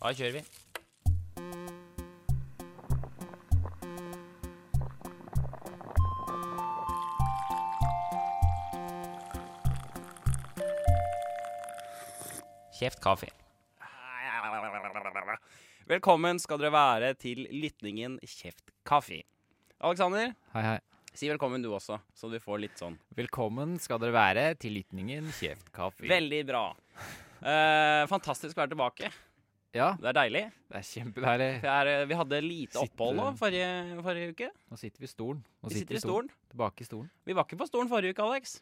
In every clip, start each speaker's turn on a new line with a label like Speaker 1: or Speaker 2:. Speaker 1: Da kjører vi. Kjeft kaffe. Velkommen skal dere være til lytningen Kjeft kaffe. Aleksander,
Speaker 2: Hei, hei.
Speaker 1: si velkommen du også, så du får litt sånn.
Speaker 2: Velkommen skal dere være til lytningen Kjeft kaffe.
Speaker 1: Veldig bra. Eh, fantastisk å være tilbake.
Speaker 2: Ja,
Speaker 1: Det er deilig.
Speaker 2: det er kjempedeilig.
Speaker 1: Det er, eh, vi hadde lite
Speaker 2: Sitter-
Speaker 1: opphold nå forrige, forrige uke.
Speaker 2: Nå sitter vi i stolen. Nå
Speaker 1: Vi sitter i stolen.
Speaker 2: Tilbake i stolen.
Speaker 1: Vi var ikke på stolen forrige uke, Alex.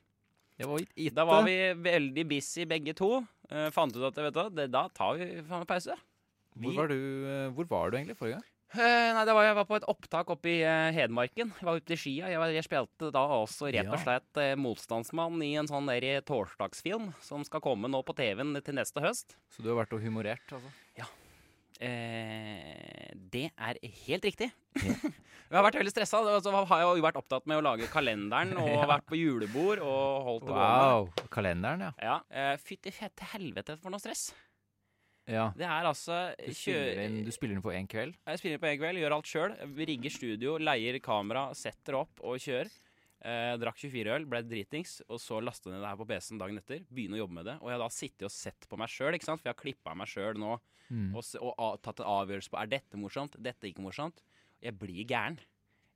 Speaker 2: Det var gitt
Speaker 1: Da var vi veldig busy begge to. Eh, fant ut at vet du, hva, det, da tar vi faen meg pause.
Speaker 2: Hvor var du, eh, hvor var du egentlig forrige gang?
Speaker 1: Eh, nei, det var, Jeg var på et opptak oppe i eh, Hedmarken. Jeg var ute i skia. Jeg, var- jeg spilte da også rett og
Speaker 2: Ja.
Speaker 1: slett eh, motstandsmann i en sånn der torsdagsfilm som skal komme nå på TV-en til neste høst.
Speaker 2: Så du har vært og humorert, altså.
Speaker 1: Eh, det er helt riktig. jeg har vært veldig stressa. Og så har jeg jo vært opptatt med å lage kalenderen og vært på julebord og holdt det gående.
Speaker 2: Wow. Kalenderen, ja.
Speaker 1: Ja. Eh, Fytti fett til helvete for noe stress.
Speaker 2: ja.
Speaker 1: Det er altså
Speaker 2: Du
Speaker 1: kjø-
Speaker 2: spiller, inn, du spiller inn på én kveld?
Speaker 1: Jeg spiller på egen kveld, gjør alt sjøl. Rigger studio, leier kamera, setter opp og kjører. Eh, drakk 24 øl, ble dritings, og så lasta ned det her på PC-en dagen etter. Begynne å jobbe med det. Og jeg har da sittet og sett på meg sjøl, ikke sant. For jeg har klippa meg sjøl nå
Speaker 2: Mm.
Speaker 1: og, s- og a, tatt en avgjørelse på er dette morsomt, dette ikke morsomt. Jeg blir gæren.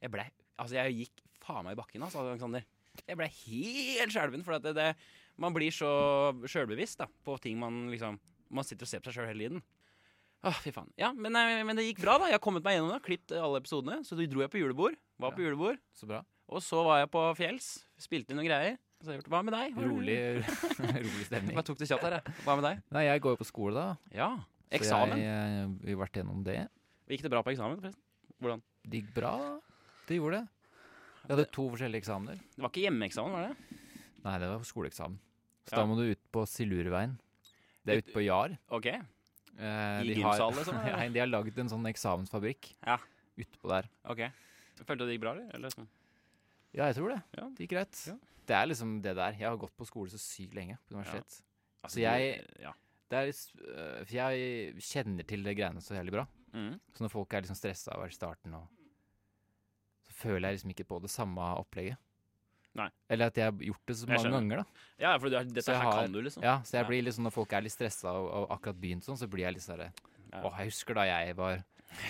Speaker 1: Jeg ble, altså jeg gikk faen meg i bakken, altså, Alexander. Jeg ble helt skjelven, for at det, det, man blir så sjølbevisst da, på ting man liksom Man sitter og ser på seg sjøl hele tiden. Åh, fy faen. Ja, men, eh, men det gikk bra, da. Jeg har kommet meg gjennom det. Klippet alle episodene. Så dro jeg på julebord. Var på julebord.
Speaker 2: Så bra.
Speaker 1: Og så var jeg på fjells. Spilte inn noen greier. Så jeg gjort, Hva med deg? Hva-
Speaker 2: Rolig,
Speaker 1: Jeg
Speaker 2: rolig stemning.
Speaker 1: bare tok det kjapt her, jeg. Hva med deg?
Speaker 2: Nei, jeg går jo på skole, da.
Speaker 1: Ja. Eksamen.
Speaker 2: Så jeg, eh, vi har vært gjennom det.
Speaker 1: Gikk det bra på eksamen, forresten? Hvordan?
Speaker 2: Det gikk bra. Det gjorde det. Jeg hadde to forskjellige eksamener.
Speaker 1: Det var ikke hjemmeeksamen, var det?
Speaker 2: Nei, det var skoleeksamen.
Speaker 1: Ja.
Speaker 2: Så da må du ut på Silurveien. Det er
Speaker 1: Ut-
Speaker 2: ute på Jar.
Speaker 1: Ok.
Speaker 2: Eh,
Speaker 1: I
Speaker 2: de
Speaker 1: gymsal,
Speaker 2: har,
Speaker 1: liksom, eller?
Speaker 2: Nei, de har lagd en sånn eksamensfabrikk
Speaker 1: Ja.
Speaker 2: utpå der.
Speaker 1: ok. Følte du det gikk bra, eller? eller sånn?
Speaker 2: Ja, jeg tror det.
Speaker 1: Ja.
Speaker 2: Det gikk greit.
Speaker 1: Ja.
Speaker 2: Det er liksom det der. Jeg har gått på skole så sykt lenge på universitet. Så Altså, jeg-
Speaker 1: du- ja.
Speaker 2: Det er, s- øh, for jeg kjenner til det greiene så jævlig bra.
Speaker 1: Mm.
Speaker 2: Så når folk er liksom stressa over starten og Så føler jeg liksom ikke på det samme opplegget.
Speaker 1: Nei.
Speaker 2: Eller at jeg har gjort det så
Speaker 1: Jeg
Speaker 2: mange
Speaker 1: skjønner.
Speaker 2: ganger, da.
Speaker 1: ja, for du, er- dette
Speaker 2: Så jeg
Speaker 1: her
Speaker 2: har-
Speaker 1: kan du, liksom.
Speaker 2: Ja, så jeg
Speaker 1: Ja.
Speaker 2: blir liksom, når folk er litt stressa og, og akkurat begynt sånn, så blir jeg litt sånn herre
Speaker 1: Ja.
Speaker 2: Åh, jeg husker da jeg var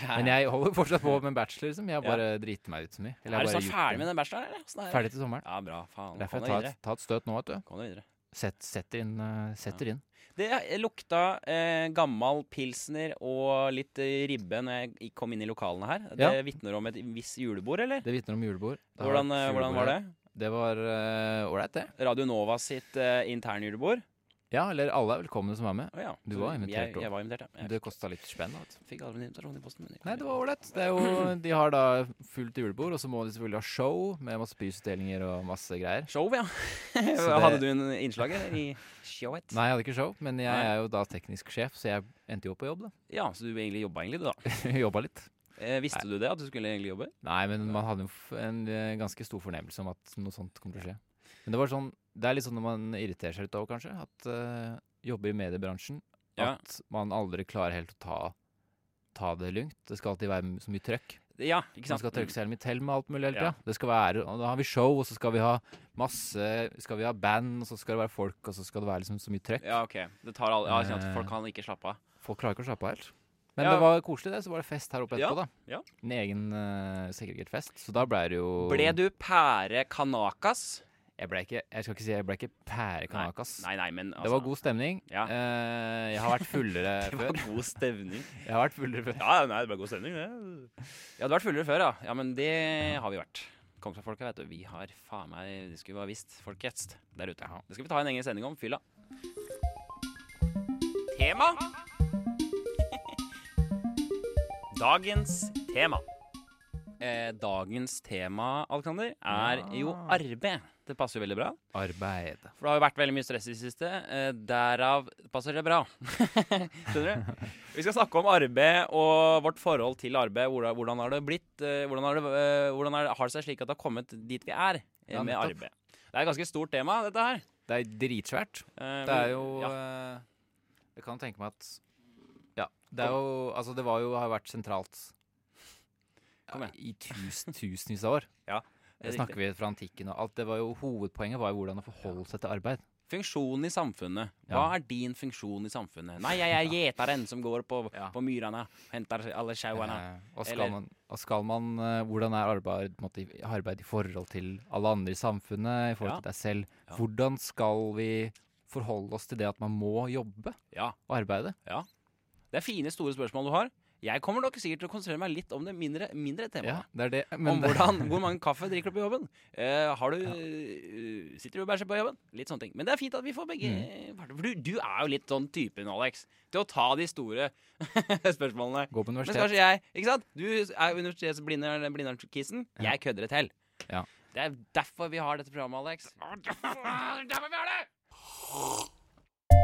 Speaker 2: Men jeg holder fortsatt på med bachelor, liksom.
Speaker 1: Ja.
Speaker 2: Jeg bare driter meg ut så mye.
Speaker 1: er du snart ferdig med den bacheloren, eller? Åssen er det?
Speaker 2: Ferdig til sommeren.
Speaker 1: Ja, bra. Faen. Kom
Speaker 2: Derfor jeg
Speaker 1: deg
Speaker 2: tar
Speaker 1: videre.
Speaker 2: et, tar et støt nå, vet du.
Speaker 1: Kom deg videre.
Speaker 2: Sett, setter inn. eh, setter inn.
Speaker 1: Det lukta eh, gammel pilsner og litt eh, ribbe når jeg kom inn i lokalene her. Det
Speaker 2: Ja.
Speaker 1: vitner om et visst julebord, eller?
Speaker 2: Det vitner om julebord. Det har
Speaker 1: Hvordan,
Speaker 2: vært
Speaker 1: eh, hvordan var
Speaker 2: julebord her.
Speaker 1: det?
Speaker 2: Det var eh, ålreit, det.
Speaker 1: Radio Nova sitt eh, internjulebord?
Speaker 2: Ja, eller alle er velkomne som er med.
Speaker 1: Å ja.
Speaker 2: Du
Speaker 1: Så
Speaker 2: var invitert
Speaker 1: jeg,
Speaker 2: også.
Speaker 1: jeg var invitert, ja. Jeg
Speaker 2: Det kosta litt spenn. da, vet du.
Speaker 1: fikk aldri en invitasjon i posten. Men
Speaker 2: Nei, det var ålreit. Det er jo- De har da fullt julebord, og så må de selvfølgelig ha show med masse prisutdelinger og masse greier.
Speaker 1: Show, ja.
Speaker 2: Så
Speaker 1: Hadde
Speaker 2: det-
Speaker 1: du en innslag eller, i showet?
Speaker 2: Nei, jeg hadde ikke show, men jeg
Speaker 1: Nei.
Speaker 2: er jo da teknisk sjef, så jeg endte jo opp på jobb, da.
Speaker 1: Ja, så du egentlig jobba egentlig, du da.
Speaker 2: Jobba litt.
Speaker 1: Eh, visste du det, at du skulle egentlig jobbe?
Speaker 2: Nei, men man hadde jo f- en eh, ganske stor fornemmelse om at noe sånt kommer til å skje. Men det var sånn Det er litt sånn når man irriterer seg litt over, kanskje, at eh, jobber i mediebransjen,
Speaker 1: Ja.
Speaker 2: at man aldri klarer helt å ta, ta det lugnt. Det skal alltid være m- så mye trøkk.
Speaker 1: Ja, ikke
Speaker 2: Man
Speaker 1: sant?
Speaker 2: skal tørke seg mye til med alt mulig hele
Speaker 1: Ja.
Speaker 2: tida. Det skal være og Da har vi show, og så skal vi ha masse Skal vi ha band, og så skal det være folk, og så skal det være liksom så mye trøkk.
Speaker 1: Ja, ok. Det tar alle, ja, ikke sant?
Speaker 2: Eh.
Speaker 1: Folk kan ikke slappe av.
Speaker 2: Folk klarer ikke å slappe av helt. Men
Speaker 1: Ja.
Speaker 2: det var koselig, det. Så var det fest her oppe
Speaker 1: Ja,
Speaker 2: etterpå, da.
Speaker 1: ja.
Speaker 2: En egen eh, segregert fest. Så da ble det jo
Speaker 1: Ble du pære kanakas?
Speaker 2: Jeg ble ikke, jeg skal ikke si jeg ble ikke pærekanakas.
Speaker 1: Nei, nei, men altså,
Speaker 2: Det var god stemning.
Speaker 1: Ja.
Speaker 2: Eh, jeg har vært fullere
Speaker 1: Det var
Speaker 2: før.
Speaker 1: god stemning.
Speaker 2: Jeg har vært fullere før.
Speaker 1: Ja, nei, det ble god stemning, det. Jeg hadde vært fullere før, ja. Ja, men det har vi vært. Kongsbergfolka, vet du. Vi har faen meg Det skulle vi ha visst, folkets, der ute. Det skal vi ta en egen sending om. Fylla. Tema. Dagens tema. Eh, dagens tema, Alexander, er jo
Speaker 2: Ja.
Speaker 1: arbeid. Det passer jo veldig bra.
Speaker 2: Arbeid.
Speaker 1: For det har jo vært veldig mye stress i det siste. Eh, derav passer det bra. Skjønner du? Vi skal snakke om arbeid og vårt forhold til arbeid. Hvordan, hvordan har det blitt? eh, Hvordan, har det, eh, hvordan er det, har det seg slik at det har kommet dit vi er eh,
Speaker 2: Ja,
Speaker 1: med
Speaker 2: nettopp.
Speaker 1: arbeid? Det er et ganske stort tema, dette her.
Speaker 2: Det er dritsvært.
Speaker 1: Eh,
Speaker 2: Det
Speaker 1: men-
Speaker 2: er jo
Speaker 1: ja.
Speaker 2: eh, Jeg kan tenke meg at Ja, Det, er jo, altså det var jo, har jo vært sentralt
Speaker 1: Kom
Speaker 2: ja, i tus, tusenvis av år. Det snakker vi fra antikken og alt. Det var jo, hovedpoenget var jo hvordan å forholde seg til arbeid.
Speaker 1: Funksjonen i samfunnet. Hva
Speaker 2: Ja.
Speaker 1: er din funksjon i samfunnet? Nei, jeg er gjeteren som går på,
Speaker 2: Ja.
Speaker 1: på myrene og henter alle sjauene.
Speaker 2: Eh, og, skal
Speaker 1: Eller-
Speaker 2: man, og skal man eh, Hvordan er arbeid, på en måte, i- arbeid i forhold til alle andre i samfunnet, i forhold
Speaker 1: Ja.
Speaker 2: til deg selv?
Speaker 1: Ja.
Speaker 2: Hvordan skal vi forholde oss til det at man må jobbe
Speaker 1: Ja.
Speaker 2: og arbeide?
Speaker 1: Det er fine, store spørsmål du har. Jeg kommer nok sikkert til å konsentrere meg litt om det mindre, mindre
Speaker 2: Ja,
Speaker 1: temaet.
Speaker 2: det er det.
Speaker 1: Om
Speaker 2: Men det,
Speaker 1: hvordan, hvor mange kaffe drikker du på jobben? Eh, har du, eh, sitter du og bæsjer på jobben? Litt sånne ting. Men det er fint at vi får begge
Speaker 2: Mm.
Speaker 1: parter. For du, du er jo litt sånn typen, Alex, til å ta de store spørsmålene.
Speaker 2: gå på
Speaker 1: Men
Speaker 2: universitet.
Speaker 1: kanskje jeg ikke sant? Du er universitetsblinderen, blinderen-kissen. Jeg kødder det til.
Speaker 2: Ja.
Speaker 1: Det er derfor vi har dette programmet, Alex. Derfor vi har det!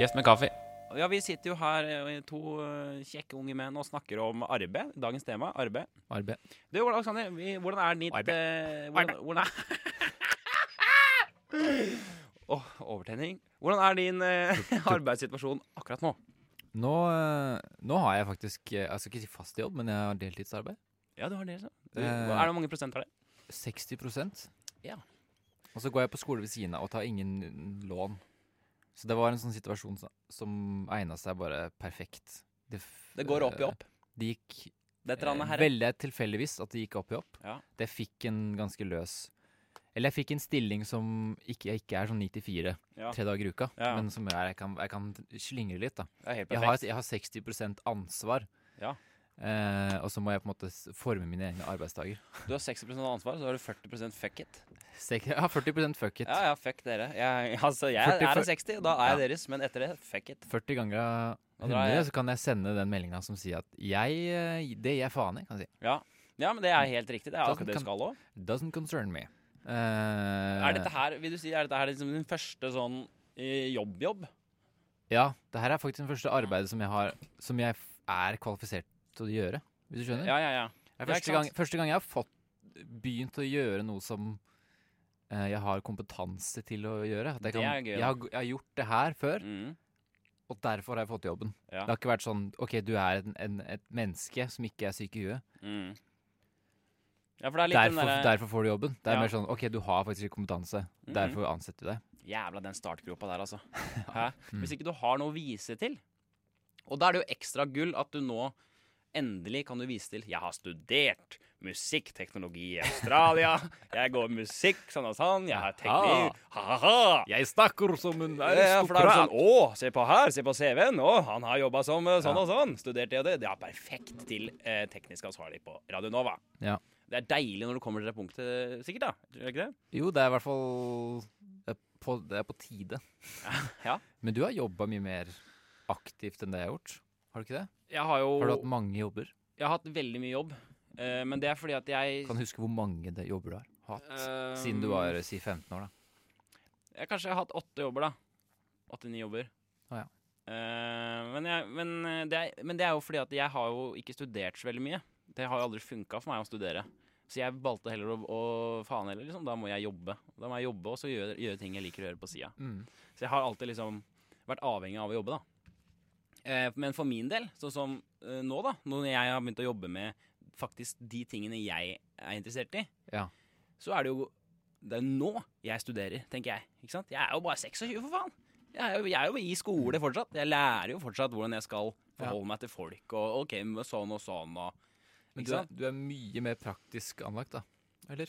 Speaker 1: Kjeft med kaffe. Ja, Vi sitter jo her, eh, to eh, kjekke unge menn, og snakker om arbeid. Dagens tema, arbeid.
Speaker 2: Arbeid.
Speaker 1: Du, Ola Alexander, vi, hvordan er ditt
Speaker 2: Arbeid.
Speaker 1: eh, hvordan, hvordan er Åh, Overtenning. Hvordan er din eh, arbeidssituasjon akkurat nå?
Speaker 2: Nå, eh, nå har jeg faktisk eh, Jeg skal ikke si fast jobb, men jeg har deltidsarbeid.
Speaker 1: Ja, du har det, så. Du,
Speaker 2: Eh.
Speaker 1: er det mange prosent av det?
Speaker 2: 60
Speaker 1: Ja.
Speaker 2: Og så går jeg på skole ved siden av og tar ingen lån. Så det var en sånn situasjon som, som egna seg bare perfekt. Det, f-
Speaker 1: Det går opp i
Speaker 2: eh,
Speaker 1: opp.
Speaker 2: Det gikk
Speaker 1: Dette
Speaker 2: eh,
Speaker 1: randet her
Speaker 2: veldig tilfeldigvis at det gikk opp i opp.
Speaker 1: Ja.
Speaker 2: Det fikk en ganske løs Eller jeg fikk en stilling som ikke, jeg ikke er sånn 9-4
Speaker 1: Ja.
Speaker 2: tre dager i uka,
Speaker 1: Ja.
Speaker 2: men som er, jeg, kan, jeg kan slingre litt, da.
Speaker 1: er helt
Speaker 2: Jeg har, jeg har 60 ansvar.
Speaker 1: Ja.
Speaker 2: Eh, og så må jeg på en måte s- forme mine egne arbeidsdager.
Speaker 1: Du har 60 ansvar, så har du 40 fuck it.
Speaker 2: Sek- Jeg har 40 fuck it.
Speaker 1: Ja, ja, fuck dere. Jeg, altså, jeg
Speaker 2: 40
Speaker 1: er
Speaker 2: for-
Speaker 1: det 60, da er jeg
Speaker 2: Ja.
Speaker 1: deres, men etter det, fuck it.
Speaker 2: 40 ganger
Speaker 1: Da drar jeg.
Speaker 2: 100, så kan jeg sende den meldinga som sier at jeg eh, Det gir jeg faen i, kan jeg si.
Speaker 1: Ja, men det er helt riktig. Det er
Speaker 2: Da
Speaker 1: akkurat det du
Speaker 2: kan-
Speaker 1: skal òg.
Speaker 2: Doesn't concern me. Eh,
Speaker 1: Er dette her, vil du si, er dette her liksom din første sånn eh, jobb-jobb?
Speaker 2: Ja, det her er faktisk det første arbeidet som jeg har Som jeg f- er kvalifisert til å gjøre, hvis du skjønner?
Speaker 1: Ja, ja, ja.
Speaker 2: det
Speaker 1: ja, ikke
Speaker 2: er første, gang,
Speaker 1: sant.
Speaker 2: første gang jeg har fått begynt å gjøre noe som eh, jeg har kompetanse til å gjøre. At jeg
Speaker 1: Det
Speaker 2: kan,
Speaker 1: er gøy,
Speaker 2: jeg,
Speaker 1: da.
Speaker 2: har, g- jeg har gjort det her før,
Speaker 1: Mm.
Speaker 2: og derfor har jeg fått jobben.
Speaker 1: Ja.
Speaker 2: Det har ikke vært sånn OK, du er en, en, et menneske som ikke er syk i huet.
Speaker 1: Mm. Ja, for det er litt
Speaker 2: Derfor,
Speaker 1: den derre
Speaker 2: derfor får du jobben. Det er
Speaker 1: Ja.
Speaker 2: mer sånn OK, du har faktisk ikke kompetanse.
Speaker 1: Mhm.
Speaker 2: Derfor ansetter vi deg.
Speaker 1: Jævla den startgropa der, altså. Hæ? Hvis ikke du har noe å vise til. Og da er det jo ekstra gull at du nå endelig kan du vise til Jeg har studert musikkteknologi i Australia. Jeg går musikk sånn og sånn. Jeg har teknikk. Ha-ha-ha.
Speaker 2: Jeg snakker som en
Speaker 1: Ja, for da er det sånn Å, se på her! Se på CV-en! Å, han har jobba som eh, sånn
Speaker 2: Ja.
Speaker 1: og sånn! Studert det og det. Det er perfekt til eh, teknisk ansvarlig på Radio Nova.
Speaker 2: Ja.
Speaker 1: Det er deilig når du kommer til det punktet, sikkert. da Tror du ikke det?
Speaker 2: Jo, det er i hvert fall det er på, det er på tide.
Speaker 1: Ja.
Speaker 2: Men du har jobba mye mer aktivt enn det jeg har gjort. Har du ikke det?
Speaker 1: Jeg har jo
Speaker 2: Har du hatt mange jobber?
Speaker 1: Jeg har hatt veldig mye jobb, eh, men det er fordi at jeg
Speaker 2: Kan du huske hvor mange det jobber du har hatt?
Speaker 1: eh,
Speaker 2: Siden du var si 15 år, da.
Speaker 1: Jeg kanskje har hatt åtte jobber, da. Åtte-ni jobber.
Speaker 2: Å, ja.
Speaker 1: Eh, men, jeg, men, eh, det er, men det er jo fordi at jeg har jo ikke studert så veldig mye. Det har jo aldri funka for meg å studere. Så jeg valgte heller å, å faen heller, liksom. Da må jeg jobbe. Da må jeg jobbe og så gjøre, gjøre ting jeg liker å gjøre på sida.
Speaker 2: Mm.
Speaker 1: Så jeg har alltid liksom vært avhengig av å jobbe, da. Eh, men for min del, sånn som eh, nå, da, når jeg har begynt å jobbe med faktisk de tingene jeg er interessert i,
Speaker 2: Ja.
Speaker 1: så er det jo det er jo nå jeg studerer, tenker jeg. Ikke sant? Jeg er jo bare 26, for faen! Jeg er, jo, jeg er jo i skole fortsatt. Jeg lærer jo fortsatt hvordan jeg skal forholde meg til folk, og OK, med sånn og sånn og
Speaker 2: Men
Speaker 1: Ikke
Speaker 2: du er,
Speaker 1: sant?
Speaker 2: du er mye mer praktisk anlagt, da. Eller?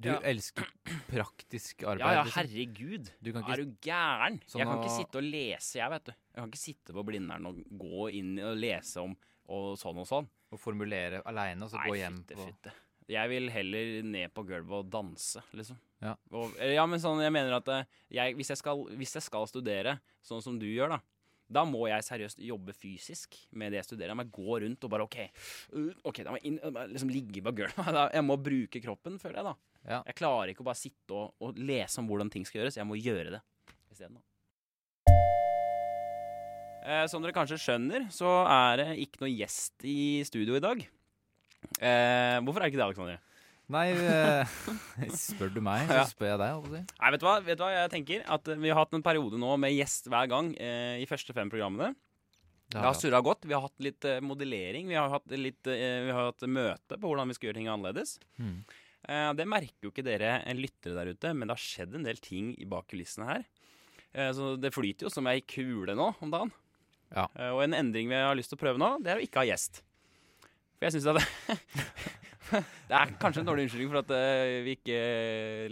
Speaker 2: Du
Speaker 1: Ja.
Speaker 2: elsker praktisk arbeid.
Speaker 1: Ja, ja,
Speaker 2: liksom.
Speaker 1: herregud.
Speaker 2: Du kan
Speaker 1: Er
Speaker 2: ikke,
Speaker 1: du gæren?
Speaker 2: Sånn
Speaker 1: jeg kan ikke
Speaker 2: å-
Speaker 1: sitte og lese, jeg, vet du. Jeg kan ikke sitte på Blindern og gå inn og lese om og sånn og sånn.
Speaker 2: å formulere aleine og så gå
Speaker 1: Nei,
Speaker 2: hjem
Speaker 1: fytte,
Speaker 2: på
Speaker 1: fytte. Jeg vil heller ned på gulvet og danse, liksom.
Speaker 2: Ja.
Speaker 1: Og, eller, ja, men sånn, jeg mener at eh, jeg, hvis, jeg skal, hvis jeg skal studere sånn som du gjør, da, da må jeg seriøst jobbe fysisk med det jeg studerer. Jeg må gå rundt og bare OK, uh, ok, da må jeg inn, jeg må liksom ligge på gulvet. Da- Jeg må bruke kroppen, føler jeg, da.
Speaker 2: Ja.
Speaker 1: Jeg klarer ikke å bare sitte og, og lese om hvordan ting skal gjøres. Jeg må gjøre det isteden, da. Eh, som dere kanskje skjønner, så er det ikke noe gjest i studio i dag. Eh, hvorfor er det ikke det, Alexander?
Speaker 2: Nei, eh, spør du meg, så
Speaker 1: Ja.
Speaker 2: spør jeg deg. holdt jeg på å si.
Speaker 1: Nei, vet du hva? vet du hva jeg tenker? At eh, Vi har hatt en periode nå med gjest hver gang eh, i første fem programmene. Det
Speaker 2: Det har
Speaker 1: har
Speaker 2: vi hatt.
Speaker 1: surra godt. Vi har hatt litt eh, modellering. Vi har hatt litt eh, Vi har hatt møte på hvordan vi skal gjøre ting annerledes.
Speaker 2: Mm.
Speaker 1: Eh, Det merker jo ikke dere eh, lyttere der ute, men det har skjedd en del ting i bak kulissene her. Eh, Så det flyter jo som ei kule nå om dagen.
Speaker 2: Ja.
Speaker 1: Eh, Og en endring vi har lyst til å prøve nå, det er å ikke ha gjest. For jeg syns at Det er kanskje en dårlig unnskyldning for at eh, vi ikke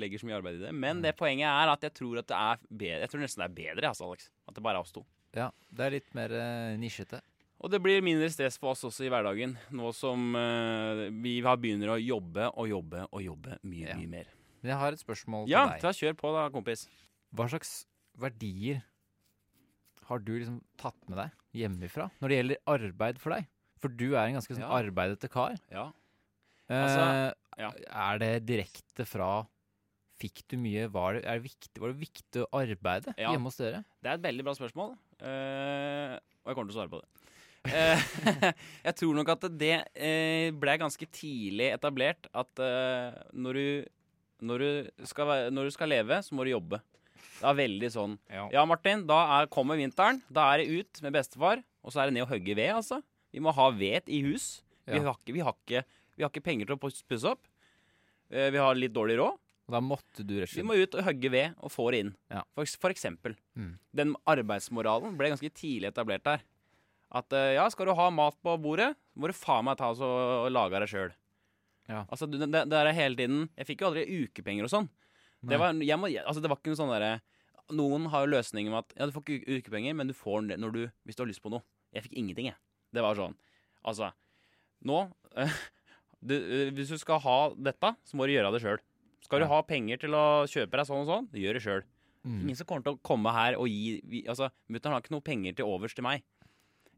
Speaker 1: legger så mye arbeid i det, men
Speaker 2: Hmm.
Speaker 1: det poenget er at jeg tror at det er bedre. Jeg tror nesten det er bedre, altså, Alex. At det bare er oss to.
Speaker 2: ja. Det er litt mer eh, nisjete.
Speaker 1: Og det blir mindre stress for oss også i hverdagen, nå som eh, vi har begynner å jobbe og jobbe og jobbe mye,
Speaker 2: Ja.
Speaker 1: mye mer.
Speaker 2: Men jeg har et spørsmål til
Speaker 1: Ja,
Speaker 2: deg.
Speaker 1: ta kjør på da, kompis.
Speaker 2: Hva slags verdier har du liksom tatt med deg hjemmefra når det gjelder arbeid for deg? For du er en ganske sånn
Speaker 1: Ja.
Speaker 2: arbeidete kar.
Speaker 1: Ja.
Speaker 2: Eh,
Speaker 1: Altså, ja.
Speaker 2: Er det direkte fra Fikk du mye? Var det, er det viktig, var det viktig å arbeide
Speaker 1: Ja.
Speaker 2: hjemme hos dere?
Speaker 1: Det er et veldig bra spørsmål, eh, og jeg kommer til å svare på det. Eh, jeg tror nok at det eh, ble ganske tidlig etablert at eh, når, du, når, du skal, være- når du skal leve, så må du jobbe. Det er veldig sånn.
Speaker 2: Ja.
Speaker 1: Ja, Martin, da er, kommer vinteren. Da er det ut med bestefar, og så er det ned og hogge ved, altså. Vi må ha ved i hus. Vi,
Speaker 2: Ja.
Speaker 1: har ikke, vi, har ikke, vi har ikke penger til å pus- pusse opp. Eh, Vi har litt dårlig råd.
Speaker 2: Og da måtte du rett og
Speaker 1: Vi
Speaker 2: slett
Speaker 1: må ut og hogge ved og få det inn.
Speaker 2: Ja.
Speaker 1: For, eks- for eksempel.
Speaker 2: Mm.
Speaker 1: Den arbeidsmoralen ble ganske tidlig etablert der. At eh, ja, skal du ha mat på bordet, må du faen meg ta oss og, og lage det sjøl.
Speaker 2: Ja.
Speaker 1: Altså, du- det, det der er hele tiden Jeg fikk jo aldri ukepenger og sånn.
Speaker 2: Nei.
Speaker 1: Det var, jeg må, altså, det var ikke noe sånn derre Noen har jo løsninger med at ja, du får ikke u- ukepenger, men du får det når du, hvis du har lyst på noe. Jeg fikk ingenting, jeg. Det var sånn. Altså, nå du, eh, Hvis du skal ha dette, så må du gjøre det sjøl. Skal
Speaker 2: Ja.
Speaker 1: du ha penger til å kjøpe deg sånn og sånn, gjør det sjøl.
Speaker 2: Mm.
Speaker 1: Ingen som kommer til å komme her og gi vi, Altså, mutter'n har ikke noe penger til overs til meg.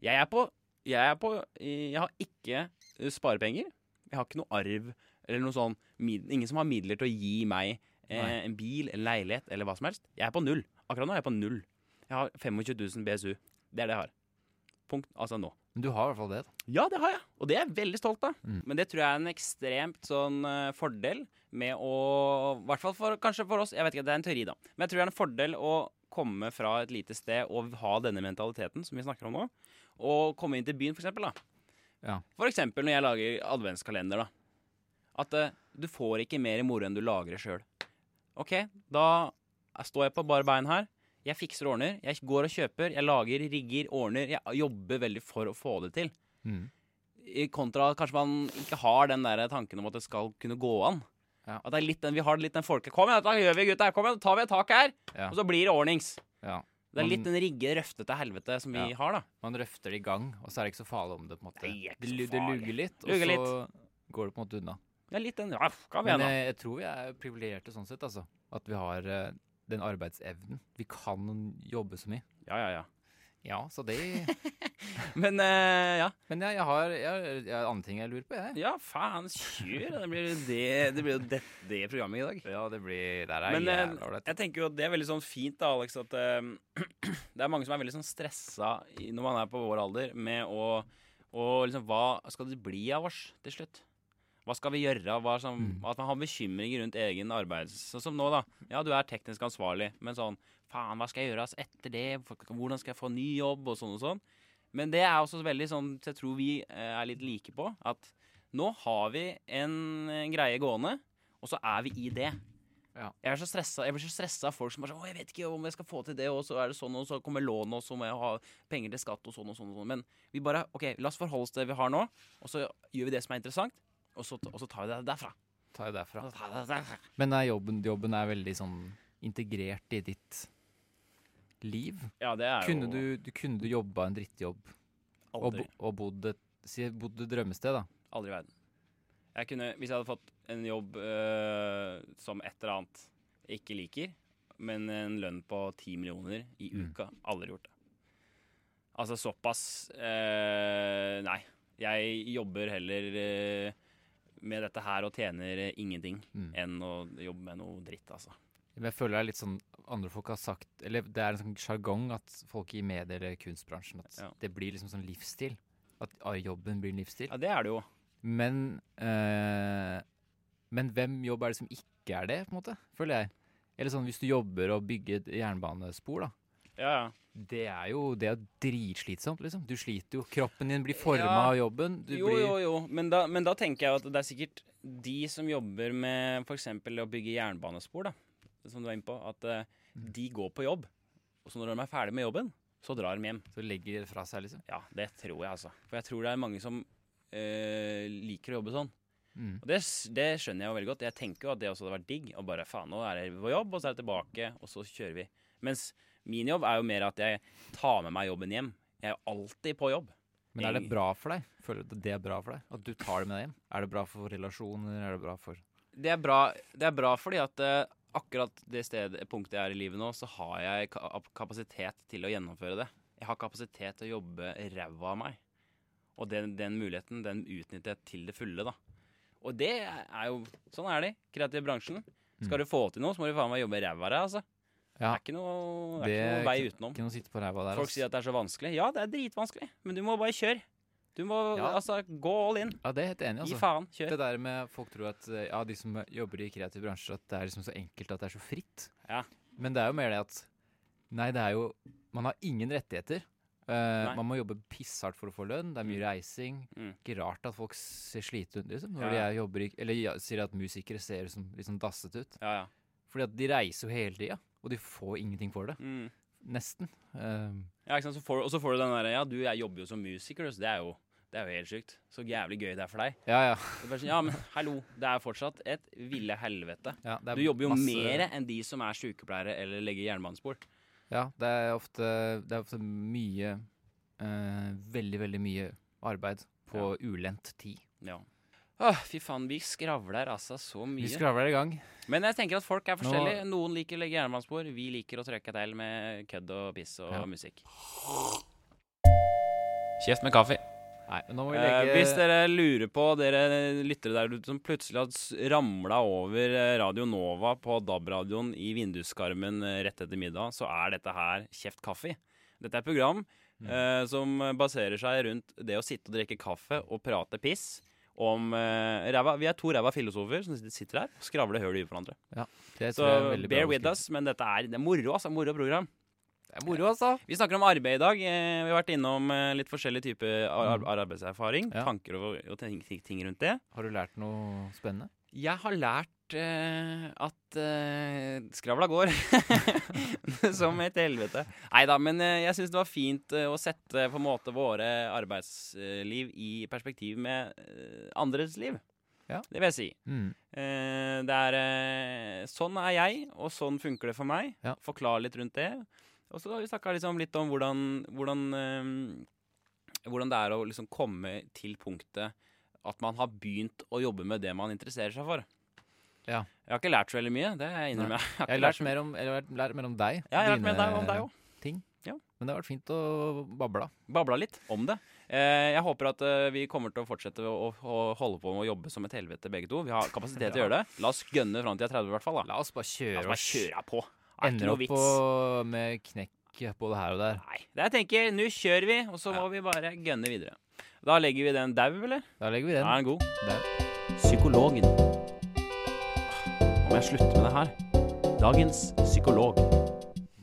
Speaker 1: Jeg er på Jeg, er på, jeg har ikke eh, sparepenger. Jeg har ikke noe arv eller noe sånn mid, Ingen som har midler til å gi meg eh,
Speaker 2: Nei.
Speaker 1: en bil, en leilighet eller hva som helst. Jeg er på null. Akkurat nå er jeg på null. Jeg har 25 000 BSU. Det er det jeg har. Punkt. Altså nå.
Speaker 2: Men du har i hvert fall det. Da.
Speaker 1: Ja, det har jeg, og det er jeg veldig stolt av.
Speaker 2: Mm.
Speaker 1: Men det tror jeg er en ekstremt sånn eh, fordel med å I hvert fall for, kanskje for oss, jeg vet ikke, det er en teori, da. Men jeg tror det er en fordel å komme fra et lite sted og ha denne mentaliteten som vi snakker om nå, og komme inn til byen, for eksempel, da.
Speaker 2: Ja.
Speaker 1: For eksempel når jeg lager adventskalender, da. At eh, du får ikke mer moro enn du lagrer sjøl. OK, da står jeg på bare bein her. Jeg fikser og ordner. Jeg går og kjøper. Jeg lager, rigger, ordner. Jeg jobber veldig for å få det til.
Speaker 2: Mm.
Speaker 1: I kontra at kanskje man ikke har den der tanken om at det skal kunne gå an.
Speaker 2: Ja.
Speaker 1: At det er litt den, Vi har litt den folke Kom igjen, da gjør vi gutta, kom igjen, da tar vi et tak her!
Speaker 2: Ja.
Speaker 1: Og så blir det ordnings.
Speaker 2: Ja.
Speaker 1: Det er
Speaker 2: Man-
Speaker 1: litt den rigge, røftete helvete som vi
Speaker 2: Ja.
Speaker 1: har, da.
Speaker 2: Man røfter det i gang, og så er det ikke så farlig om det. på en måte.
Speaker 1: Nei, det er ikke
Speaker 2: Det,
Speaker 1: så
Speaker 2: lu- det
Speaker 1: farlig.
Speaker 2: lugger litt, og
Speaker 1: Lugger
Speaker 2: så går det på en måte unna.
Speaker 1: Det er litt den ja, kom
Speaker 2: Men eh,
Speaker 1: igjen, da.
Speaker 2: jeg, jeg tror vi er privilegerte sånn sett, altså. At vi har eh, den arbeidsevnen. Vi kan jobbe så mye.
Speaker 1: Ja, ja, ja.
Speaker 2: Ja, så det
Speaker 1: Men eh, ja.
Speaker 2: Men jeg, jeg har jeg, har- jeg har andre ting jeg lurer på, jeg.
Speaker 1: Ja, faen, kjør! Det blir jo det, det, blir jo det, det programmet i dag.
Speaker 2: Ja, det blir Der
Speaker 1: Men eh,
Speaker 2: jævla ålreit.
Speaker 1: jeg tenker jo at det er veldig sånn fint da, Alex, at eh, det er mange som er veldig sånn stressa i- når man er på vår alder, med å og liksom, Hva skal det bli av oss til slutt? Hva skal vi gjøre? Hva som, At man har bekymringer rundt egen arbeids... Sånn som nå, da. Ja, du er teknisk ansvarlig, men sånn Faen, hva skal jeg gjøre ass, etter det? Hvordan skal jeg få ny jobb? Og sånn og sånn. Men det er også veldig sånn så jeg tror vi eh, er litt like på, at nå har vi en, en greie gående, og så er vi i det.
Speaker 2: Ja.
Speaker 1: Jeg, er så stressa, jeg blir så stressa av folk som bare sånn Å, jeg vet ikke om jeg skal få til det, og så er det sånn, og så kommer lånet, og så må jeg ha penger til skatt, og sånn og sånn. Og sånn. Men vi bare OK, la oss forholde oss til det vi har nå, og så gjør vi det som er interessant, og så, og så tar vi det derfra.
Speaker 2: Ta det derfra.
Speaker 1: Og så tar vi det derfra.
Speaker 2: Altså, Men er jobben, jobben er veldig sånn integrert i ditt liv.
Speaker 1: Ja, det er
Speaker 2: Kunne
Speaker 1: jo
Speaker 2: du, du, kunne du jobba en drittjobb og,
Speaker 1: aldri,
Speaker 2: bo- og bodd et Si bodd et drømmested, da.
Speaker 1: aldri i verden. Jeg kunne, hvis jeg hadde fått en jobb øh, som et eller annet jeg ikke liker, men en lønn på ti millioner i
Speaker 2: Mm.
Speaker 1: uka, aldri gjort det. Altså såpass øh, Nei. Jeg jobber heller øh, med dette her og tjener øh, ingenting
Speaker 2: Mm.
Speaker 1: enn å jobbe med noe dritt, altså.
Speaker 2: Men jeg føler det er litt sånn andre folk har sagt Eller det er en sånn sjargong at folk i medie- eller kunstbransjen At
Speaker 1: Ja.
Speaker 2: det blir liksom sånn livsstil. At ah, jobben blir en livsstil.
Speaker 1: Ja, det er det jo.
Speaker 2: Men eh, Men hvem jobb er det som ikke er det, på en måte? Føler jeg. Eller sånn hvis du jobber og bygger et jernbanespor, da.
Speaker 1: Ja, ja.
Speaker 2: Det er jo, det er jo dritslitsomt, liksom. Du sliter jo. Kroppen din blir forma
Speaker 1: Ja.
Speaker 2: av jobben. Du
Speaker 1: Jo,
Speaker 2: blir,
Speaker 1: jo, jo. Men da, men da tenker jeg at det er sikkert de som jobber med f.eks. å bygge jernbanespor, da, som du var inne på, at eh, de går på jobb. Og så når de er ferdig med jobben, så drar de hjem.
Speaker 2: Så legger det fra seg, liksom.
Speaker 1: Ja, det tror jeg, altså. For jeg tror det er mange som eh, liker å jobbe sånn.
Speaker 2: Mm.
Speaker 1: Og det, s- det skjønner jeg jo veldig godt. Jeg tenker jo at det også hadde vært digg. Og bare faen, nå er jeg på jobb, og så er jeg tilbake, og så kjører vi. Mens min jobb er jo mer at jeg tar med meg jobben hjem. Jeg er jo alltid på jobb.
Speaker 2: Men er det
Speaker 1: Egentlig.
Speaker 2: bra for deg? Føler du at det er bra for deg? At du tar det med deg hjem? Er det bra for relasjoner? Er det bra for
Speaker 1: det er bra, det er bra fordi at eh, akkurat det stedet, punktet jeg er i livet nå, så har jeg ka kapasitet til å gjennomføre det. Jeg har kapasitet til å jobbe ræva av meg. Og den, den muligheten, den utnytter jeg til det fulle, da. Og det er jo Sånn er det i kreativ bransjen. Skal du få til noe, så må du faen meg jobbe ræva av deg, altså. Det
Speaker 2: Mm. Ja.
Speaker 1: er ikke noe, det er ikke
Speaker 2: Det
Speaker 1: noe vei
Speaker 2: er
Speaker 1: utenom.
Speaker 2: Ikke noe å sitte på ræva der.
Speaker 1: Folk
Speaker 2: ass.
Speaker 1: sier at det er så vanskelig. Ja, det er dritvanskelig, men du må bare kjøre. Du må
Speaker 2: Ja.
Speaker 1: altså gå all in.
Speaker 2: Ja, det er jeg helt enig i,
Speaker 1: Gi
Speaker 2: altså.
Speaker 1: faen. Kjør.
Speaker 2: Det der med folk tror at eh, ja, de som jobber i kreativ bransje, at det er liksom så enkelt at det er så fritt.
Speaker 1: Ja.
Speaker 2: Men det er jo mer det at Nei, det er jo Man har ingen rettigheter. Eh,
Speaker 1: Nei.
Speaker 2: man må jobbe pisshardt for å få lønn. Det er mye reising.
Speaker 1: Mm.
Speaker 2: Ikke rart at folk ser slitne ut liksom, når
Speaker 1: Ja,
Speaker 2: de
Speaker 1: ja.
Speaker 2: er jobber i Eller ja, sier at musikere ser ut som litt sånn dasset ut.
Speaker 1: Ja, ja.
Speaker 2: Fordi at de reiser jo hele tida, og de får ingenting for det.
Speaker 1: Mm.
Speaker 2: Nesten. Eh,
Speaker 1: Ja, ikke sant? Så får, og så får du den der Ja, du, jeg jobber jo som musiker, så det er jo, det er jo helt sjukt. Så jævlig gøy det er for deg.
Speaker 2: ja, ja.
Speaker 1: Det er bare sånn, ja, men hallo, det er fortsatt et ville helvete.
Speaker 2: ja det er
Speaker 1: Du jobber jo
Speaker 2: masse-
Speaker 1: mer enn de som er sykepleiere eller legger jernbanespor.
Speaker 2: Ja, det er ofte, det er ofte mye eh, Veldig, veldig mye arbeid på ulendt tid.
Speaker 1: Ja. Åh, fy faen, vi skravler altså så
Speaker 2: Vi
Speaker 1: mye.
Speaker 2: skravler i gang.
Speaker 1: Men jeg tenker at folk er
Speaker 2: Nå-
Speaker 1: forskjellige. Noen liker å legge jernbanespor, vi liker å trøkke til med kødd og piss og
Speaker 2: Ja.
Speaker 1: musikk. Kjeft med kaffe.
Speaker 2: Nei, men nå må vi
Speaker 1: Eh,
Speaker 2: legge
Speaker 1: hvis dere lurer på, dere lyttere der ute som plutselig har ramla over eh, Radio Nova på DAB-radioen i vinduskarmen eh, rett etter middag, så er dette her Kjeft kaffe. Dette er et program
Speaker 2: Mm.
Speaker 1: eh, som baserer seg rundt det å sitte og drikke kaffe og prate piss om eh, ræva. Vi er to ræva filosofer som sitter- sitter her og skravler høl i huet for hverandre.
Speaker 2: det
Speaker 1: Så
Speaker 2: tror jeg er veldig bra
Speaker 1: bear with
Speaker 2: beskrevet.
Speaker 1: us, men dette er, det er moro, altså. Moro program.
Speaker 2: Det er moro, altså.
Speaker 1: Vi snakker om arbeid i dag. Eh, Vi har vært innom eh, litt forskjellige typer ar ar arbeidserfaring.
Speaker 2: Ja.
Speaker 1: Tanker og, og ting, ting, ting rundt det.
Speaker 2: Har du lært noe spennende?
Speaker 1: Jeg har lært eh, at eh, skravla går som et helvete. Nei da, men eh, jeg syns det var fint eh, å sette på en måte våre arbeidsliv i perspektiv med eh, andres liv.
Speaker 2: Ja.
Speaker 1: Det vil jeg si.
Speaker 2: Mm.
Speaker 1: Eh, det er eh, Sånn er jeg, og sånn funker det for meg.
Speaker 2: Ja.
Speaker 1: Forklar litt rundt det. Og så har vi snakka liksom litt om hvordan, hvordan, eh, hvordan det er å liksom komme til punktet at man har begynt å jobbe med det man interesserer seg for.
Speaker 2: Ja.
Speaker 1: Jeg har ikke lært så veldig mye, det innrømmer jeg.
Speaker 2: Jeg har lært mer om, eller, jeg har lært mer om deg.
Speaker 1: Ja, jeg har lært
Speaker 2: dine
Speaker 1: mer deg, om deg òg.
Speaker 2: ting.
Speaker 1: Ja.
Speaker 2: Men det har vært fint å bable.
Speaker 1: Babla litt om det. Eh, jeg håper at eh, vi kommer til å fortsette å, å holde på med å jobbe som et helvete, begge to. Vi har kapasitet til å gjøre det. La oss gønne fram til jeg er 30, i hvert fall. Da.
Speaker 2: La oss bare
Speaker 1: La
Speaker 2: kjøre
Speaker 1: oss bare kjøre på. Det er ikke
Speaker 2: Ender
Speaker 1: noe
Speaker 2: opp på,
Speaker 1: vits.
Speaker 2: med knekk både her og der.
Speaker 1: Nei. Det jeg tenker, nå kjører vi, og så må vi bare gønne videre. Da legger vi den dau, eller?
Speaker 2: Da legger vi
Speaker 1: Da
Speaker 2: den.
Speaker 1: er den god.
Speaker 2: Dau.
Speaker 1: Psykologen. Nå må jeg slutte med det her. Dagens psykolog.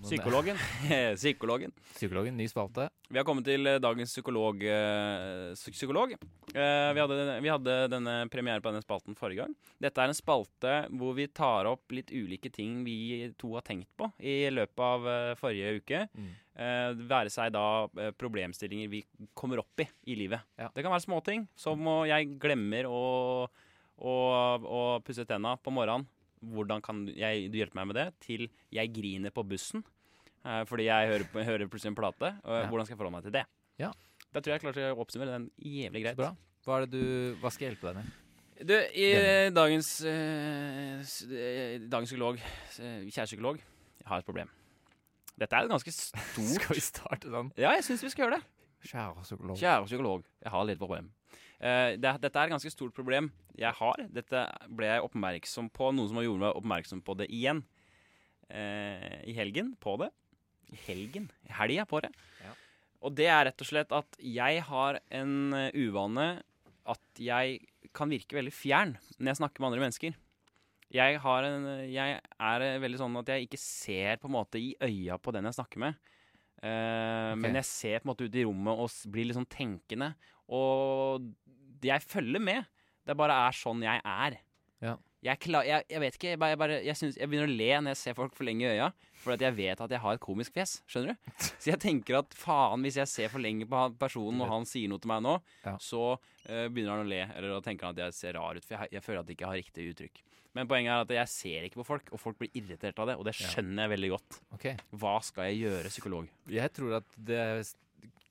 Speaker 1: Psykologen. Psykologen.
Speaker 2: Psykologen, ny spalte.
Speaker 1: Vi har kommet til eh, dagens psykolog. eh, psy- psykolog. Eh, vi, hadde, vi hadde denne premiere på denne spalten forrige gang. Dette er en spalte hvor vi tar opp litt ulike ting vi to har tenkt på i løpet av eh, forrige uke.
Speaker 2: Mm.
Speaker 1: Eh, være seg da eh, problemstillinger vi kommer opp i i livet.
Speaker 2: Ja.
Speaker 1: Det kan være småting, som å jeg glemmer å, å, å pusse tenna på morgenen. Hvordan kan jeg, du hjelpe meg med det? Til jeg griner på bussen eh, fordi jeg hører, på- hører plutselig en plate. Og
Speaker 2: Ja.
Speaker 1: Hvordan skal jeg forholde meg til det?
Speaker 2: Ja.
Speaker 1: Da tror jeg jeg klarte å oppsummere den jævlig
Speaker 2: Så
Speaker 1: greit.
Speaker 2: bra. Hva, er det du, hva skal jeg hjelpe deg med?
Speaker 1: Du, i eh, dagens, eh, s- eh, dagens psykolog, eh, kjære psykolog, jeg har et problem. Dette er et ganske stort
Speaker 2: Skal vi starte sånn?
Speaker 1: Ja, jeg syns vi skal gjøre det.
Speaker 2: Kjære psykolog.
Speaker 1: Kjære psykolog, jeg har litt problem. Eh, det, dette er et ganske stort problem jeg har. Dette ble jeg oppmerksom på, noen som har gjort meg oppmerksom på det igjen. Eh, I helgen på det. I helgen? I helga på det.
Speaker 2: Ja.
Speaker 1: Og det er rett og slett at jeg har en eh, uvane at jeg kan virke veldig fjern når jeg snakker med andre mennesker. Jeg, har en, jeg er eh, veldig sånn at jeg ikke ser på en måte i øya på den jeg snakker med. Eh, Men
Speaker 2: Ok.
Speaker 1: jeg ser på en måte ut i rommet og s- blir litt sånn tenkende. Og jeg følger med. Det bare er sånn jeg er.
Speaker 2: Ja.
Speaker 1: Jeg, kla- jeg, jeg vet ikke, jeg, bare, jeg, bare, jeg, synes, jeg begynner å le når jeg ser folk for lenge i øya, for at jeg vet at jeg har et komisk fjes. Skjønner du? Så jeg tenker at faen, hvis jeg ser for lenge på han personen, og han sier noe til meg nå,
Speaker 2: Ja.
Speaker 1: så eh, begynner han å le, eller da tenker han at jeg ser rar ut, for jeg, har- jeg føler at jeg ikke har riktig uttrykk. Men poenget er at jeg ser ikke på folk, og folk blir irritert av det, og det
Speaker 2: Ja.
Speaker 1: skjønner jeg veldig godt.
Speaker 2: Ok.
Speaker 1: Hva skal jeg gjøre, psykolog?
Speaker 2: Jeg tror at det er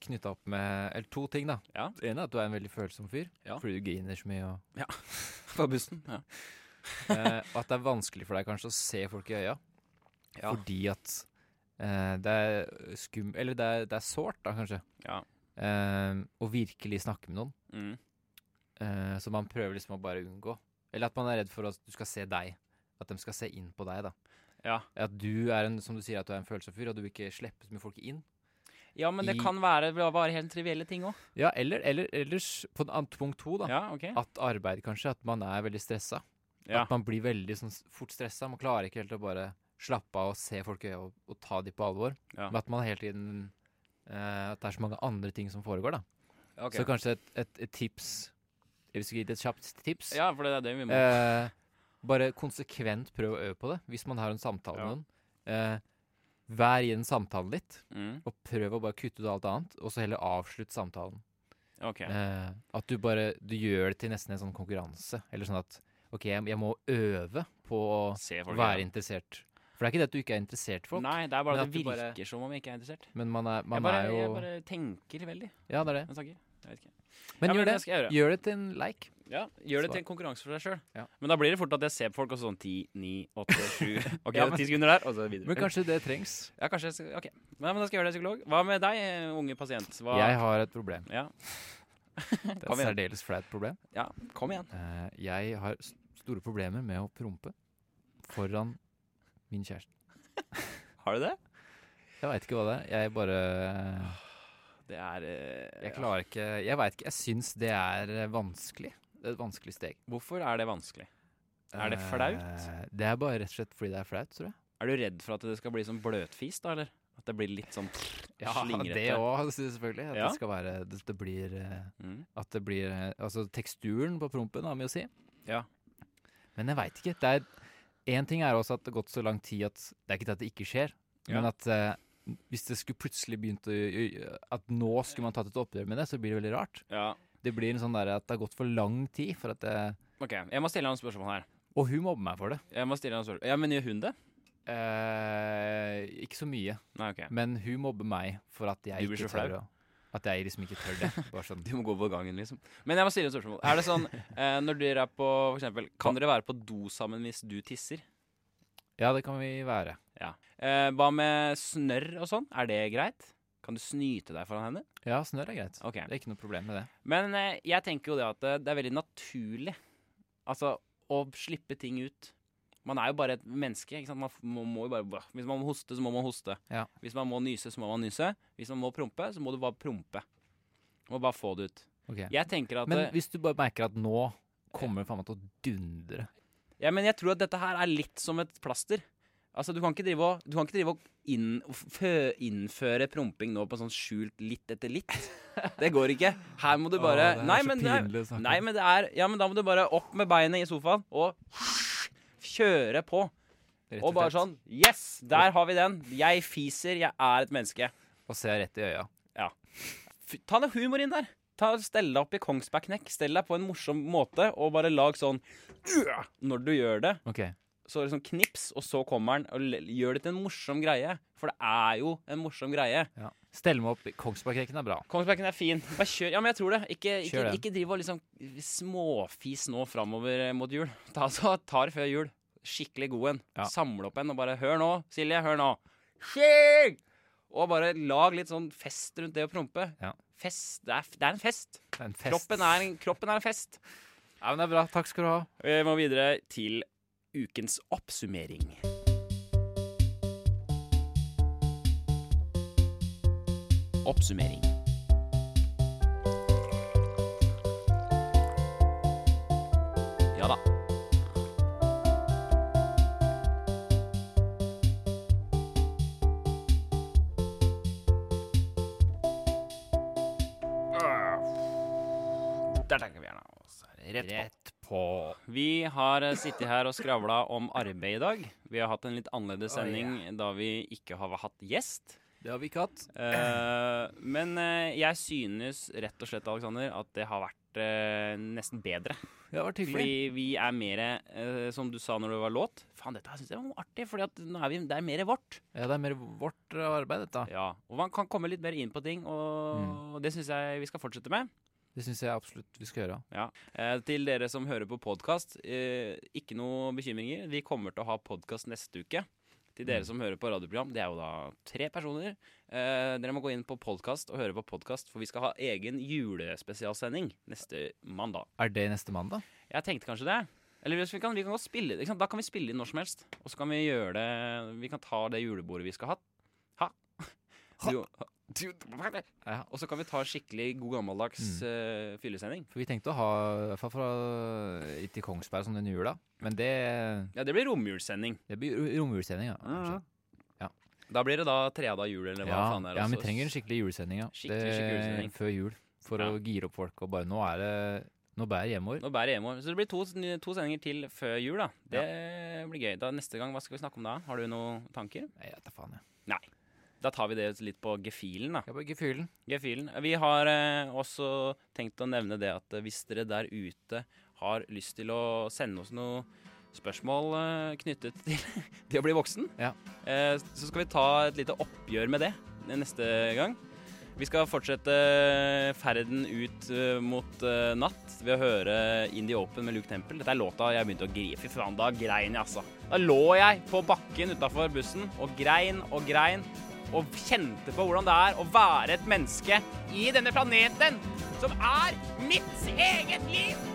Speaker 2: knytta opp med Eller to ting, da.
Speaker 1: Ja.
Speaker 2: Det ene er at du er en veldig følsom fyr,
Speaker 1: Ja.
Speaker 2: fordi du griner så mye. Og,
Speaker 1: Fra bussen? Ja.
Speaker 2: eh, og at det er vanskelig for deg kanskje å se folk i øya,
Speaker 1: Ja.
Speaker 2: fordi at eh, det er skum... Eller det er, det er sårt, da, kanskje.
Speaker 1: Ja.
Speaker 2: Eh, å virkelig snakke med noen.
Speaker 1: Mm.
Speaker 2: Eh, så man prøver liksom å bare unngå. Eller at man er redd for at du skal se deg. At de skal se inn på deg, da.
Speaker 1: Ja.
Speaker 2: At du er en, som du sier, at du er en følsom fyr, og du vil ikke slippe så mye folk inn.
Speaker 1: ja, men det
Speaker 2: I-
Speaker 1: kan være bare helt trivielle ting òg.
Speaker 2: Ja, eller, eller ellers, på den andre punkt to, da.
Speaker 1: Ja, ok.
Speaker 2: At arbeid, kanskje. At man er veldig stressa.
Speaker 1: Ja.
Speaker 2: At man blir veldig sånn s- fort stressa. Man klarer ikke helt å bare slappe av og se folk i øya og, og ta de på alvor.
Speaker 1: Ja.
Speaker 2: Men at man hele tiden eh, At det er så mange andre ting som foregår, da.
Speaker 1: Ok.
Speaker 2: Så kanskje et, et, et tips Hvis vi skulle gitt et kjapt tips
Speaker 1: ja, for det er det vi må.
Speaker 2: Eh, bare konsekvent prøv å øve på det. Hvis man har en samtale
Speaker 1: Ja.
Speaker 2: med noen. Eh, vær i den samtalen litt,
Speaker 1: Mm,
Speaker 2: og prøv å bare kutte ut alt annet. Og så heller avslutt samtalen.
Speaker 1: ok.
Speaker 2: Eh, at du bare du gjør det til nesten en sånn konkurranse. Eller sånn at OK, jeg, jeg må øve på å
Speaker 1: Se folk
Speaker 2: være
Speaker 1: gjøre.
Speaker 2: interessert. For det er ikke det at du ikke er interessert i folk,
Speaker 1: Nei, det er bare
Speaker 2: Men
Speaker 1: at det
Speaker 2: at du bare-
Speaker 1: virker som om jeg ikke er interessert.
Speaker 2: men man er, man
Speaker 1: jeg, bare,
Speaker 2: er jo
Speaker 1: jeg bare tenker veldig.
Speaker 2: Ja, det er det.
Speaker 1: Jeg snakker. Jeg vet ikke.
Speaker 2: Men
Speaker 1: ja,
Speaker 2: gjør det.
Speaker 1: skal jeg gjøre.
Speaker 2: Gjør det til en leik.
Speaker 1: Ja, gjør det
Speaker 2: Svar.
Speaker 1: til en konkurranse for deg sjøl.
Speaker 2: Ja.
Speaker 1: Men da blir det fort at jeg ser på folk og sånn 10, 9, 8, 7 Ok,
Speaker 2: Ja, men-
Speaker 1: 10 sekunder der, og så videre.
Speaker 2: Men kanskje det trengs.
Speaker 1: Ja, kanskje jeg skal, ok. Nei, men da skal jeg gjøre det, psykolog. Hva med deg, eh, unge pasient? Hva...
Speaker 2: Jeg har et problem.
Speaker 1: Ja.
Speaker 2: Det er
Speaker 1: Kom
Speaker 2: et
Speaker 1: igjen.
Speaker 2: særdeles flaut problem.
Speaker 1: ja, kom igjen.
Speaker 2: Eh, jeg har s- store problemer med å prompe foran min kjæreste.
Speaker 1: Har du det?
Speaker 2: Jeg veit ikke hva det er. Jeg bare
Speaker 1: Det er eh,
Speaker 2: Jeg klarer ikke Jeg veit ikke. Jeg syns det er eh, vanskelig. Det er et vanskelig steg.
Speaker 1: ja. Hvorfor er det vanskelig? Er det flaut?
Speaker 2: Eh, det er bare rett og slett fordi det er flaut, tror jeg.
Speaker 1: Er du redd for at det skal bli sånn bløtfis, da, eller? At det blir litt sånn slingrete?
Speaker 2: det òg, selvfølgelig. At
Speaker 1: Ja.
Speaker 2: det skal være det, det blir eh,
Speaker 1: Mm.
Speaker 2: At det blir eh, Altså, teksturen på prompen har mye å si.
Speaker 1: Ja.
Speaker 2: Men jeg veit ikke. Det er Én ting er også at det har gått så lang tid at Det er ikke det at det ikke skjer,
Speaker 1: Ja.
Speaker 2: men at eh, hvis det skulle plutselig begynt å At nå skulle man tatt et oppgjør med det, så blir det veldig rart.
Speaker 1: ja.
Speaker 2: Det blir en sånn der at det har gått for lang tid for at det
Speaker 1: Ok, jeg må stille deg noen spørsmål her.
Speaker 2: Og hun mobber meg for det.
Speaker 1: Jeg må stille deg noen spørsmål. Ja, men gjør hun det?
Speaker 2: Eh, ikke så mye,
Speaker 1: Nei, ok.
Speaker 2: men hun mobber meg for at jeg
Speaker 1: Du blir
Speaker 2: ikke
Speaker 1: så flau.
Speaker 2: tør å At jeg liksom ikke tør det. Bare sånn
Speaker 1: Du må gå på gangen, liksom. Men jeg må stille et spørsmål. Er det sånn, eh, når dere er på, for eksempel, kan dere være på do sammen hvis du tisser?
Speaker 2: Ja, det kan vi være.
Speaker 1: Eh, hva med snørr og sånn? Er det greit? Kan du snyte deg foran henne?
Speaker 2: Ja, snørr er greit.
Speaker 1: Ok.
Speaker 2: Det er ikke noe problem med det.
Speaker 1: Men eh, jeg tenker jo det at eh, det er veldig naturlig Altså å slippe ting ut. Man er jo bare et menneske. Ikke sant? Man f- må, må jo bare, bah. hvis man må hoste, så må man hoste.
Speaker 2: Ja.
Speaker 1: Hvis man må nyse, så må man nyse. Hvis man må prompe, så må du bare prompe. Du må bare få det ut.
Speaker 2: Ok.
Speaker 1: Jeg tenker at
Speaker 2: Men
Speaker 1: eh,
Speaker 2: hvis du bare merker at nå kommer det faen meg til å dundre
Speaker 1: Ja, men jeg tror at dette her er litt som et plaster. Altså, Du kan ikke drive og, du kan ikke drive og inn, fø, innføre promping nå på sånn skjult litt etter litt. Det går ikke. Her må du bare Nei, men det er, nei, men det er Ja, men da må du bare opp med beinet i sofaen og kjøre på. Og bare sånn Yes! Der har vi den. Jeg fiser. Jeg er et menneske.
Speaker 2: Og se rett i øya.
Speaker 1: Fy- Ta litt humor inn der. Ta, stell deg opp i Kongsberg Knekk. Stell deg på en morsom måte, og bare lag sånn «Øh!» Når du gjør det,
Speaker 2: Ok.
Speaker 1: så liksom knips, og så kommer han og l- gjør det til en morsom greie. For det er jo en morsom greie.
Speaker 2: Ja. Stell meg opp. Kongsbergkreken er bra.
Speaker 1: Kongsbergen er fin. Bare kjør. Ja, men jeg tror det. Ikke, ikke,
Speaker 2: Kjør den.
Speaker 1: ikke driv og liksom småfis nå framover eh, mot jul. Ta, ta, ta det før jul. Skikkelig god en.
Speaker 2: Ja.
Speaker 1: Samle opp en og bare Hør nå, Silje. Hør nå. Skjegg! Og bare lag litt sånn fest rundt det å prompe.
Speaker 2: Ja.
Speaker 1: Fest. Det er, f- det er en fest.
Speaker 2: Det er en fest.
Speaker 1: Kroppen er, en- kroppen er en fest.
Speaker 2: Ja, men det er bra. Takk skal du ha.
Speaker 1: Vi må videre til ukens oppsummering. Oppsummering. Ja da. Der tenker vi gjerne. Og så er det Rett på.
Speaker 2: Rett på.
Speaker 1: Vi har eh, sittet her og skravla om arbeid i dag. Vi har hatt en litt annerledes
Speaker 2: Oi, ja.
Speaker 1: sending da vi ikke har hatt gjest.
Speaker 2: Det har vi ikke hatt.
Speaker 1: Eh, men eh, jeg synes rett og slett, Alexander, at det har vært eh, nesten bedre.
Speaker 2: Det har vært hyggelig.
Speaker 1: Fordi vi er mer, eh, som du sa når det var låt Faen, dette her synes jeg var artig, for det er mer vårt.
Speaker 2: Ja, det er mer vårt eh, arbeid, dette.
Speaker 1: Ja, Og man kan komme litt mer inn på ting, og
Speaker 2: Mm.
Speaker 1: det syns jeg vi skal fortsette med.
Speaker 2: Det syns jeg absolutt vi skal gjøre.
Speaker 1: Eh, til dere som hører på podkast, eh, ikke noe bekymringer. Vi kommer til å ha podkast neste uke. Til dere
Speaker 2: Mm.
Speaker 1: som hører på radioprogram, det er jo da tre personer. Eh, dere må gå inn på podkast og høre på podkast, for vi skal ha egen julespesialsending neste mandag.
Speaker 2: Er det neste mandag?
Speaker 1: Jeg tenkte kanskje det. Eller hvis vi kan, vi kan godt spille ikke sant? Da kan vi spille inn når som helst. Og så kan vi gjøre det Vi kan ta det julebordet vi skal ha. Ha.
Speaker 2: Ha.
Speaker 1: Du-
Speaker 2: Ja.
Speaker 1: Og så kan vi ta skikkelig god
Speaker 2: Mm.
Speaker 1: gammeldags eh, fyllesending.
Speaker 2: For vi tenkte å ha, i hvert fall fra hit til Kongsberg sånn den jula. Men det,
Speaker 1: Ja, det blir romjulssending.
Speaker 2: det blir ro- romjulssending, ja. kanskje.
Speaker 1: Da blir det da Treada jul, eller hva
Speaker 2: Ja,
Speaker 1: faen er det
Speaker 2: ja,
Speaker 1: også?
Speaker 2: vi trenger en skikkelig julesending, ja.
Speaker 1: Skikkelig, skikkelig
Speaker 2: Det-
Speaker 1: julesending.
Speaker 2: Før jul. For
Speaker 1: Ja.
Speaker 2: å gire opp folk og bare Nå er det Nå bærer hjemmeår.
Speaker 1: Nå bærer hjemme. Så det blir to, to sendinger til før jul, da. Det blir gøy. Da Neste gang, hva skal vi snakke om da? Har du noen tanker?
Speaker 2: Nei, jeg vet da faen, jeg.
Speaker 1: Da tar vi det litt på gefühlen, da.
Speaker 2: Jeg bare gefühlen.
Speaker 1: Gefühlen. Vi har eh, også tenkt å nevne det at eh, hvis dere der ute har lyst til å sende oss noe spørsmål eh, knyttet til det å bli voksen,
Speaker 2: Ja.
Speaker 1: eh, så skal vi ta et lite oppgjør med det eh, neste gang. Vi skal fortsette ferden ut eh, mot eh, natt ved å høre Indie Open med Luke Temple. Dette er låta jeg begynte å grine. Fy faen, da grein jeg, altså. Da lå jeg på bakken utafor bussen og grein og grein og kjente på hvordan det er å være et menneske i denne planeten som er mitt eget liv.